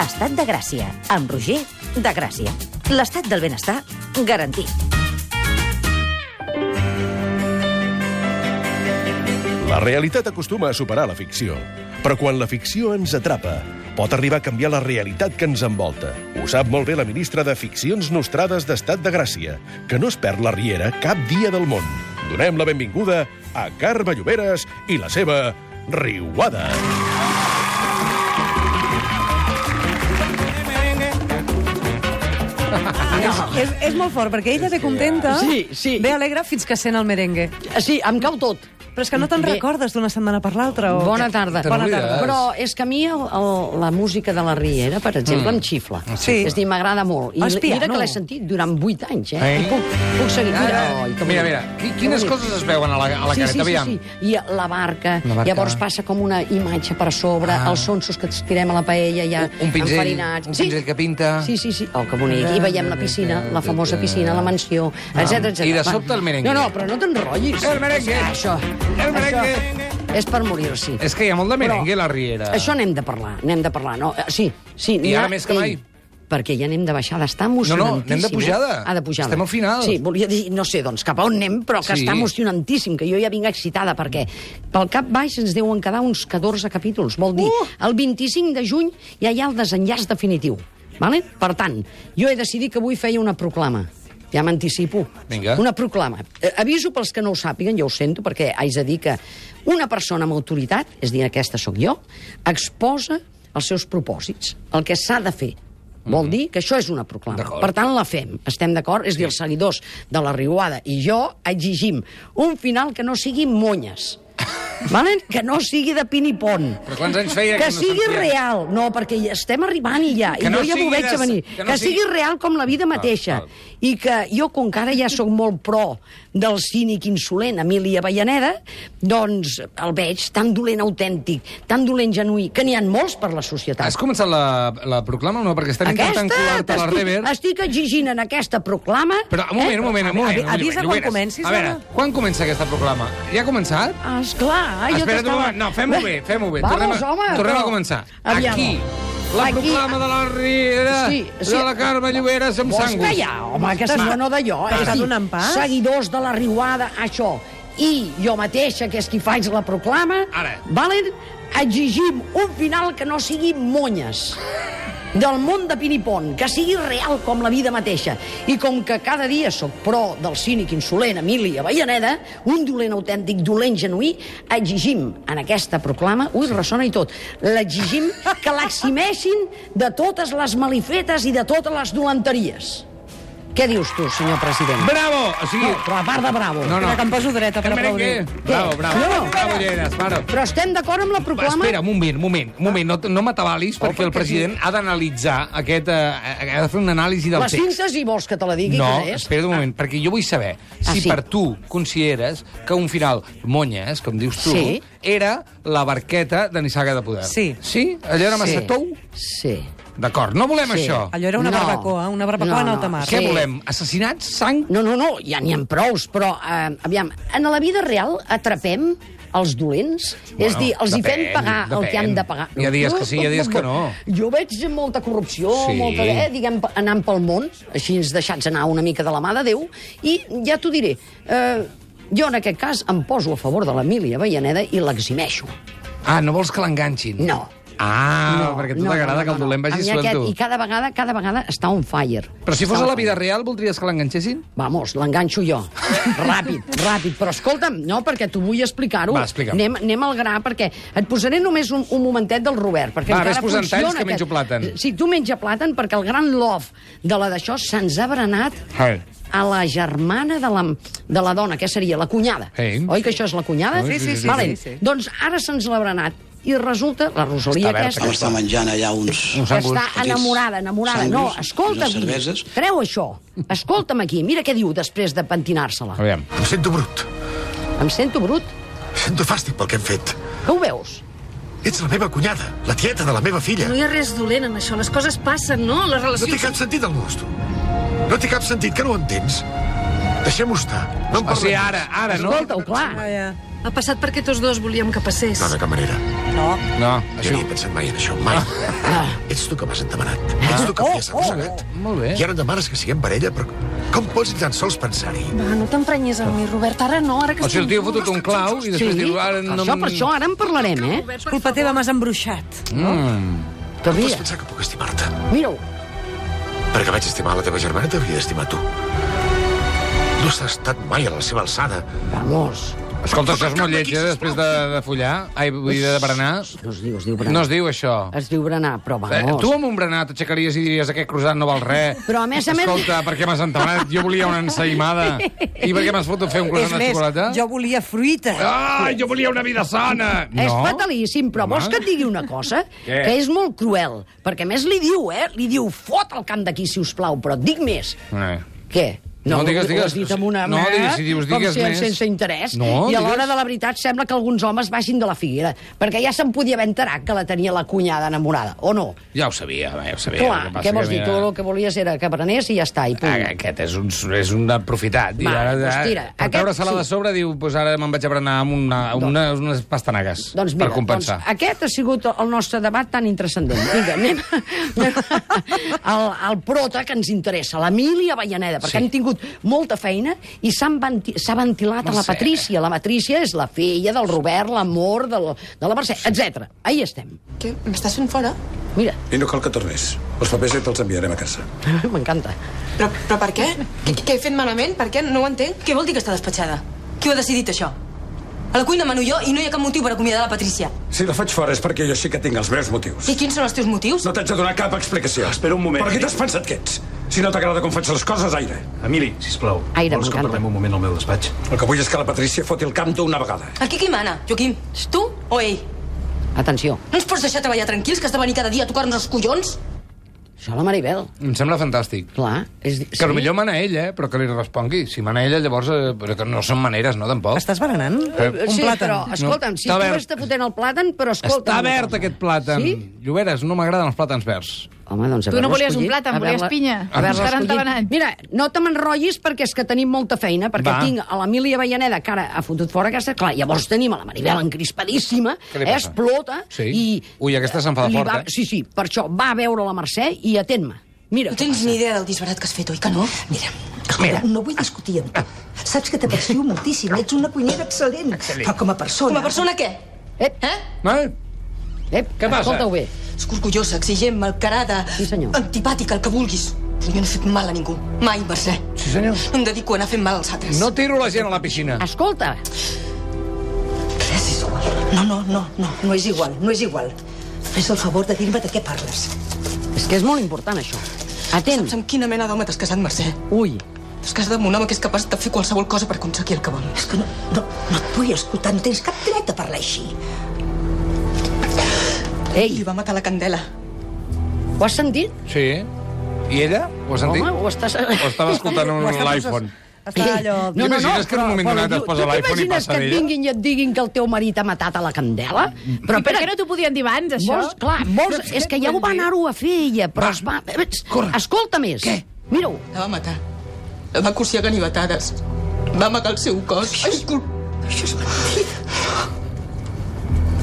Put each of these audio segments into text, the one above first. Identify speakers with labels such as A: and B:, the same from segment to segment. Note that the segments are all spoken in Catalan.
A: Estat de Gràcia, amb Roger de Gràcia. L'estat del benestar garantit.
B: La realitat acostuma a superar la ficció, però quan la ficció ens atrapa, pot arribar a canviar la realitat que ens envolta. Ho sap molt bé la ministra de Ficcions Nostrades d'Estat de Gràcia, que no es perd la riera cap dia del món. Donem la benvinguda a Carme Lloberes i la seva Riuada.
C: És, és molt fort, perquè ella ve contenta,
D: Sí, sí.
C: ve alegre fins que sent el merengue.
D: Sí, em cau tot.
C: Però és que no te'n
D: Bé.
C: recordes d'una setmana per l'altra. O...
D: Bona tarda.
E: Te n'oblides.
D: Però és que a mi el, el, la música de la Riera, per exemple, mm. em xifla.
C: Sí.
D: És a dir, m'agrada molt. I
C: Ah, és
D: mira
C: piano.
D: que l'he sentit durant 8 anys, eh?
E: Eh?
D: I puc, puc seguir. Mira,
E: Ah,
D: ai, que
E: mira,
D: bonic.
E: mira,
D: Que
E: qui- quines
D: bonic.
E: coses es veuen a la, a la
D: sí,
E: careta?
D: sí, sí,
E: Aviam.
D: sí, I la barca,
E: La barca.
D: llavors passa com una imatge per sobre, ah. els sonsos que ens tirem a la paella ja
E: Un- un pinzell,
D: enfarinats.
E: un pinzell que pinta.
D: Sí, sí, sí. Oh, que bonic. I veiem la piscina, la famosa piscina, la mansió, etc etc.
E: Ah. I de sobte el merengue.
D: No, no, però no t'enrotllis.
E: El merengue.
D: Això.
E: El Eh, merengue.
D: Això és per morir-s'hi.
E: És que hi ha molt de merengue,
D: Però
E: la Riera.
D: Això n'hem de parlar, n'hem de parlar. No, eh, sí, sí.
E: I
D: n'hi ha-
E: ara més que mai.
D: ei, perquè ja anem de baixada, està emocionantíssim.
E: n'hem de
D: eh?
E: pujada.
D: Ah, de pujada.
E: Estem al final.
D: Sí, volia dir, no sé, doncs, cap a on anem, però que
E: Sí.
D: està emocionantíssim, que jo ja vinc excitada, perquè pel cap baix ens deuen quedar uns 14 capítols. Vol dir,
E: Uh!
D: el 25 de juny ja hi ha el desenllaç definitiu. Vale? Per tant, jo he decidit que avui feia una proclama. Ja m'anticipo.
E: Vinga.
D: Una proclama. Eh, aviso pels que no ho sàpiguen, jo ho sento, perquè haig de dir que una persona amb autoritat, és a dir, aquesta sóc jo, exposa els seus propòsits, el que s'ha de fer. Vol dir que això és una proclama.
E: Mhm. D'acord.
D: Per tant, la fem. Estem d'acord? És a dir, els seguidors de la Riuada i jo exigim un final que no sigui monyes. Valen? Que no sigui de pin i pont.
E: Però quants anys feia que
D: que
E: no
D: sigui
E: sentia?
D: real. No, perquè hi estem arribant i ja.
E: Que
D: I
E: no
D: jo ja m'ho
E: sigui
D: veig
E: de-
D: a venir.
E: que no
D: que sigui
E: sigui- Ah,
D: real com la vida mateixa.
E: val.
D: I que jo, com que ara ja sóc molt pro del cínic insolent Emili Avellaneda, doncs el veig tan dolent autèntic, tan dolent genuí, que n'hi ha molts per la societat.
E: Has començat la, la proclama o no? Perquè estem intentant colar-te la
D: t'estic-
E: Rever.
D: estic exigint en aquesta proclama... eh?
E: Però un moment, un moment, un moment.
C: avi-
E: un moment,
C: avisa quan
E: Lloberes.
C: comencis,
E: A veure,
C: dona.
E: quan comença aquesta proclama? Ja ha començat?
D: Ah, esclar, jo
E: Espera't un
D: t'estava-
E: moment. No, fem-ho bé, fem-ho bé.
D: Vamos,
E: tornem a,
D: home,
E: tornem
D: però-
E: a començar.
D: Aviam.
E: Aquí, la
D: Aquí-
E: proclama de la Riera,
D: Sí, sí.
E: de la Carme Lloberes amb
D: Vols
E: sangus.
D: callar, home, que si no, no d'allò. eh?
C: T'està
D: Sí,
C: donant pas?
D: Seguidors de la riuada, això. I jo mateixa, que és qui faig la proclama,
E: Ara.
D: valen, exigim un final que no sigui monyes del món de Pinipon, que sigui real com la vida mateixa. I com que cada dia sóc pro del cínic insolent Emili Avellaneda, un dolent autèntic, dolent genuí, exigim en aquesta proclama, ui, ressona i tot, l'exigim que l'eximeixin de totes les malifetes i de totes les dolenteries. Què dius tu, senyor president?
E: Bravo! O sigui,
D: No, però a part de bravo.
E: No, no.
C: Espera, que em poso dreta per
E: El merengue.
C: aplaudir.
E: Bravo,
D: Què?
E: bravo.
D: No.
E: Bravo, Lleres, bravo.
D: Però estem d'acord amb la
E: Va,
D: proclama?
E: espera, un moment, un moment, un moment. No, t- no m'atabalis, perquè, el president ha d'analitzar aquest... Eh, ha de fer una anàlisi del
D: La
E: text.
D: síntesi vols que te la digui?
E: No,
D: què és?
E: espera't un moment, perquè jo vull saber si
D: Ah, sí.
E: per tu consideres que un final monyes, com dius tu,
D: Sí.
E: era la barqueta de Nissaga de Poder.
C: Sí.
E: Sí? Allò era massa tou?
D: Sí.
E: D'acord, no volem
D: Sí.
E: això.
C: Allò era una barbacoa, una barbacoa en alta mar.
E: Què
D: sí.
E: volem? Assassinats? Sang?
D: No, no, no, ja n'hi ha prous, però, eh, aviam, en la vida real atrapem els dolents? Bueno, és a dir, els hi
E: depèn,
D: fem pagar el
E: depèn.
D: que han de pagar?
E: Hi ha dies que sí, hi ha dies que no.
D: Jo veig molta corrupció,
E: Sí.
D: molta, eh, diguem, anant pel món, així ens deixats anar una mica de la mà de Déu, i ja t'ho diré, eh, jo en aquest cas em poso a favor de l'Emília Avellaneda i l'eximeixo.
E: Ah, no vols que l'enganxin?
D: No.
E: Ah, perquè a tu t'agrada que el dolent vagi
D: A mi
E: suelto.
D: I cada vegada, cada vegada està on fire.
E: Però si fos
D: Està
E: a
D: on
E: la
D: fire.
E: vida real, voldries que l'enganxessin?
D: Vamos, l'enganxo jo. Ràpid, ràpid. Però escolta'm, no, perquè t'ho vull explicar-ho.
E: Va, explica'm.
D: Anem, anem al gra, perquè et posaré només un, un momentet del Robert, perquè
E: Va,
D: encara
E: ves posant
D: funciona.
E: talls que menjo plàtan.
D: Sí, tu menja plàtan, perquè el gran love de la d'això se'ns ha berenat
E: Hey.
D: a la germana de la, de la dona, que seria la cunyada.
E: Hey.
D: Oi que això és la cunyada?
C: Sí, sí, sí,
D: Valent.
C: sí, sí.
D: Doncs ara se'ns l'ha berenat. I resulta, la Rosalia
E: Està verda,
D: aquesta...
F: Ara està menjant allà uns...
E: Uns angles
D: Està
F: petits.
D: enamorada, enamorada.
F: Sangres,
D: No,
F: unes
D: escolta'm,
F: cerveses.
D: treu això. Escolta'm aquí, mira què diu després de pentinar-se-la.
E: Aviam.
G: Em sento brut.
D: Em sento brut.
G: Sento fàstic pel que hem fet.
D: Que ho veus?
G: Ets la meva cunyada, la tieta de la meva filla.
H: No hi ha res dolent en això. Les coses passen, no? Les
G: No té
H: relacions...
G: cap sentit el mosto. No té cap sentit, que no ho entens? Deixem-ho estar. No en
E: O sigui,
G: parlem.
E: ara, ara, no?
D: Escolta-ho, clar.
C: Ah, Ja, ja.
I: Ha passat perquè tots dos volíem que passés.
G: No, de cap manera.
A: No.
E: No,
G: Jo
E: això...
G: no hi he pensat mai en això, mai.
E: Ah.
G: Ets tu que m'has endemanat. Ets tu que m'hi has arrossegat.
E: Oh, Molt bé.
G: I ara em demanes que siguem parella, però com pots ni tan sols pensar-hi?
I: Va, no t'emprenyes amb mi, Robert. Ara no, ara que
E: O sigui, el tio ha fotut un clau i després diu... Ara
A: per
E: no...
A: això, per això, ara en parlarem, eh?
I: Robert, per
C: Culpa teva, m'has embruixat.
E: Mm.
A: Que
G: Pots
A: mira,
G: pensar que puc estimar-te?
A: mira-ho.
G: Perquè vaig estimar la teva germana, t'hauria d'estimar tu. No has estat mai a la seva alçada.
A: Vamos.
E: Escolta, això és molt lleig, eh, després de, de follar. Ai, vull dir, de berenar.
A: No es diu, es diu berenar.
E: No es diu això.
A: Es diu berenar, però
E: Eh,
A: vamos.
E: tu amb un berenar t'aixecaries i diries aquest croissant no val res.
A: Però, a més a més-
E: Escolta, per què m'has entemanat? Jo volia una ensaïmada. I per què m'has fotut fer un
C: És
E: croissant de
C: més,
E: xocolata?
C: jo volia fruita.
E: Ah, jo volia una vida sana! No?
A: És fatalíssim, però vols que et digui una cosa?
E: Què?
A: Que és molt cruel, perquè a més li diu, eh? Li diu, fot el camp d'aquí, si us plau, però et dic més.
E: Eh.
A: Què?
E: No, digues,
A: ho- ho
E: digues.
A: has dit amb una
E: No,
A: mà,
E: digues, si dius,
A: com
E: digues
A: si,
E: més.
A: sense interès.
E: No,
A: I a l'hora
E: digues.
A: de la veritat sembla que alguns homes baixin de la figuera, perquè ja se'n podia haver enterat que la tenia la cunyada enamorada, o no?
E: Ja ho sabia, ja ho sabia.
A: Clar,
E: El que passa
A: què vols
E: que,
A: dir? Tu
E: mira,
A: el que volies era que prenés i ja està, i punt.
E: Ah, Aquest és un, és un aprofitat. I
A: Va,
E: ara,
A: doncs
E: ara,
A: tira,
E: Per
A: aquest
E: treure-se-la
A: sí.
E: de sobre, diu, doncs ara me'n vaig a berenar amb una, una, unes pastanagues
A: Doncs mira,
E: per compensar.
A: Doncs aquest ha sigut el nostre debat tan intrascendent. Vinga, anem, anem al, al prota que ens interessa, l'Emília Avellaneda, perquè
E: Sí.
A: sí. han tingut molta feina i s'han venti- s'ha ventilat a la
E: Mercè.
A: Patrícia. La Patrícia és la filla del Robert, l'amor del, de la Mercè, etc. Ahí estem.
J: Què? M'estàs fent fora?
A: Mira,
K: I no cal que tornis. Els papers ja te'ls enviarem a casa.
A: m'encanta.
J: Però, però per què? Què, què he fet malament? Per què? No ho entenc.
L: Què vol dir que està despatxada? Qui ho ha decidit, això? A la cuina mano jo i no hi ha cap motiu per acomiadar la Patricia.
K: Si la faig fora és perquè jo sí que tinc els meus motius.
L: I quins són els teus motius?
K: No t'haig de donar cap explicació.
M: Espera un moment.
K: Per qui t'has pensat que ets? Si no t'agrada com faig les coses, aire.
M: Emili, sisplau,
A: Aire,
M: vols que
A: m'encanta.
M: parlem un moment al meu despatx?
K: El que vull és que la Patricia foti el camp d'una vegada.
L: Aquí qui mana, Joaquim? Tu o ell?
A: Atenció,
L: No ens pots deixar treballar tranquils, que has de venir cada dia a tocar-nos els collons?
A: això la Maribel,
E: Em sembla fantàstic.
A: clar. És,
E: Que sí? millor mana ell, eh? però que li respongui. Si mana ella, llavors... Eh, però que no són maneres, no, tampoc.
C: Estàs berenant?
E: Eh,
C: Un
A: sí,
C: plàtan.
A: però, escolta'm,
E: No,
A: si
E: està
A: tu
E: verd.
A: estàs fotent el plàtan, però escolta'm...
E: Està
A: una
E: verd,
A: cosa.
E: aquest plàtan.
A: Sí?
E: Lloberes, no m'agraden els plàtans verds.
A: Home, doncs
J: Tu no
A: haver-la
J: volies un
A: escollit,
J: plàtan, volies
A: haver-la-
J: pinya.
A: haver-la
J: Ara en te
A: escollit.
J: l'han anat.
A: Mira, no te m'enrotllis perquè és que tenim molta feina, perquè
E: Va.
A: Va. tinc a l'Emília Avellaneda, que ara ha fotut fora aquesta, clar, llavors tenim a la Maribel encrispadíssima,
E: Què li
A: eh,
E: passa?
A: explota,
E: Sí?
A: i...
E: Ui, aquesta s'enfada
A: li
E: fort,
A: va,
E: eh?
A: Sí, sí, per això va a veure la Mercè i atén-me. Mira,
L: No tens ni idea del disbarat que has fet, oi que no?
D: Mira, Mira. no vull discutir amb tu. Saps que t'aprecio moltíssim, ets una cuinera excel·lent. excel·lent. Però com a persona...
L: Com a persona, què?
A: Ep,
L: Eh?
E: Eh?
A: ep,
E: Què passa?
A: escolta-ho bé.
L: Escorcollosa, exigent, malcarada...
A: Sí, senyor.
L: Antipàtica, el que vulguis. Però jo no he fet mal a ningú. Mai, Mercè.
E: Sí, senyor.
L: No em dedico a anar fent mal als altres.
E: No tiro la gent a la piscina.
A: Ah. Escolta,
D: Res és igual. No, no, no, no, no és igual, no és igual. Fes el favor de dir-me de què parles.
A: és que és molt important, això. Atén.
L: Saps amb quina mena d'home t'has casat, Mercè?
A: Ui,
L: T'has casat amb un home que és capaç de fer qualsevol cosa per aconseguir el que vol.
D: És que no, no, no et vull escoltar, no tens cap dret a parlar així.
L: Li
A: ei,
L: va matar la candela.
A: ho has sentit?
E: Sí. I ella? Ho has sentit?
A: Home, ho estàs...
E: O estava escoltant un
C: Ho estàs-
E: l'iPhone?
C: Està allò...
E: No, no, T'imagines que en un moment
A: però-
E: donat
A: però
E: es posa
A: tu
E: l'iPhone i
A: t'imagines
E: passa
A: que et
E: d'ella?
A: vinguin i et diguin que el teu marit ha matat a la Candela?
E: Mm.
A: Però,
J: I per
A: espera,
J: què no t'ho podien dir abans, això?
A: vols, clar, vols, és que ja ho va anar-ho a fer ella, però es va... eh,
E: corre.
A: Escolta més. Què? Mira-ho.
L: La va matar. La va cosir a ganivetades. Va amagar el seu cos. Ai, cul...
D: Això és mentida.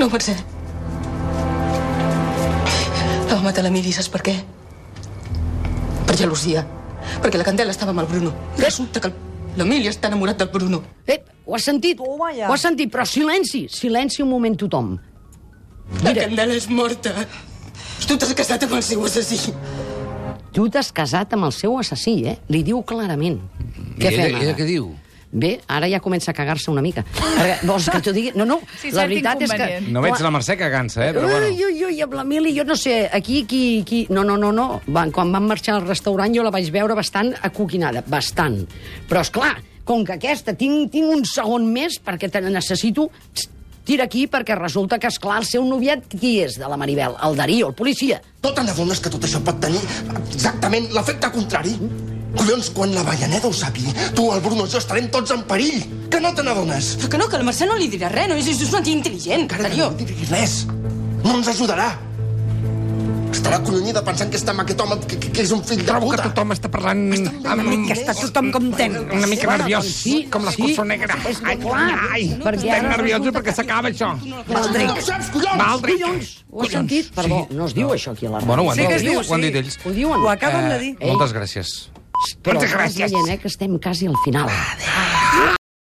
L: No, Mercè. La va matar la Miri, saps per què? Per gelosia. Perquè la Candela estava amb el Bruno. I resulta que el- l'Emili està enamorat del Bruno.
A: Ep, ho has sentit?
C: Toma ja.
A: Ho has sentit, però silenci, silenci un moment tothom.
L: La Candela és morta. Tu t'has casat amb el seu assassí.
A: Tu t'has casat amb el seu assassí, eh? Li diu clarament. Què
E: I
A: fem
E: ella,
A: ara?
E: ella què diu?
A: Bé, ara ja comença a cagar-se una mica. Perquè, vols que t'ho digui? No, no,
J: Sí,
A: la
J: cert
A: veritat és que...
J: inconvenient.
E: No veig la Mercè cagant-se, eh? Però bueno.
A: Ui, ui, ui, amb l'Emili, jo no sé, aquí, qui, qui... No, no, no, no. Van, quan van marxar al restaurant jo la vaig veure bastant acoquinada, bastant. Però, és clar, com que aquesta, tinc, tinc un segon més perquè te la necessito... Txt, Tira aquí perquè resulta que, és clar el seu noviat qui és de la Maribel? El Darío, el policia.
M: No t'adones que tot això pot tenir exactament l'efecte contrari? Collons, quan la Vallaneda ho sàpiga, tu, el Bruno i jo estarem tots en perill. Que no te n'adones?
L: Però que no, que la Mercè no li dirà res, no és, és una tia intel·ligent,
M: Encara que no
L: Darío.
M: diguis res. No ens ajudarà. Estarà collonida pensant que està amb aquest home, que, que, que és un fill de rebuda. Que tothom
E: està parlant...
M: Una
C: mica, està tothom com ten.
E: Una mica nerviós, com l'escurçó negra. Ai, ai,
A: perquè
E: estem
A: ara
E: nerviosos
A: resulta
E: perquè s'acaba això.
A: Baldric.
E: Baldric.
A: Collons! Ho has sentit? Perdó, no es diu això aquí a la ràdio.
E: Bueno, ho han
A: Sí
E: dit,
A: que es diu,
E: ho han dit
A: sí.
E: ells.
A: Ho diuen. Ho acaben de dir.
E: Moltes gràcies.
A: Però
E: Moltes
A: estàs
E: gràcies.
A: veient, eh, que estem quasi al final. Adéu.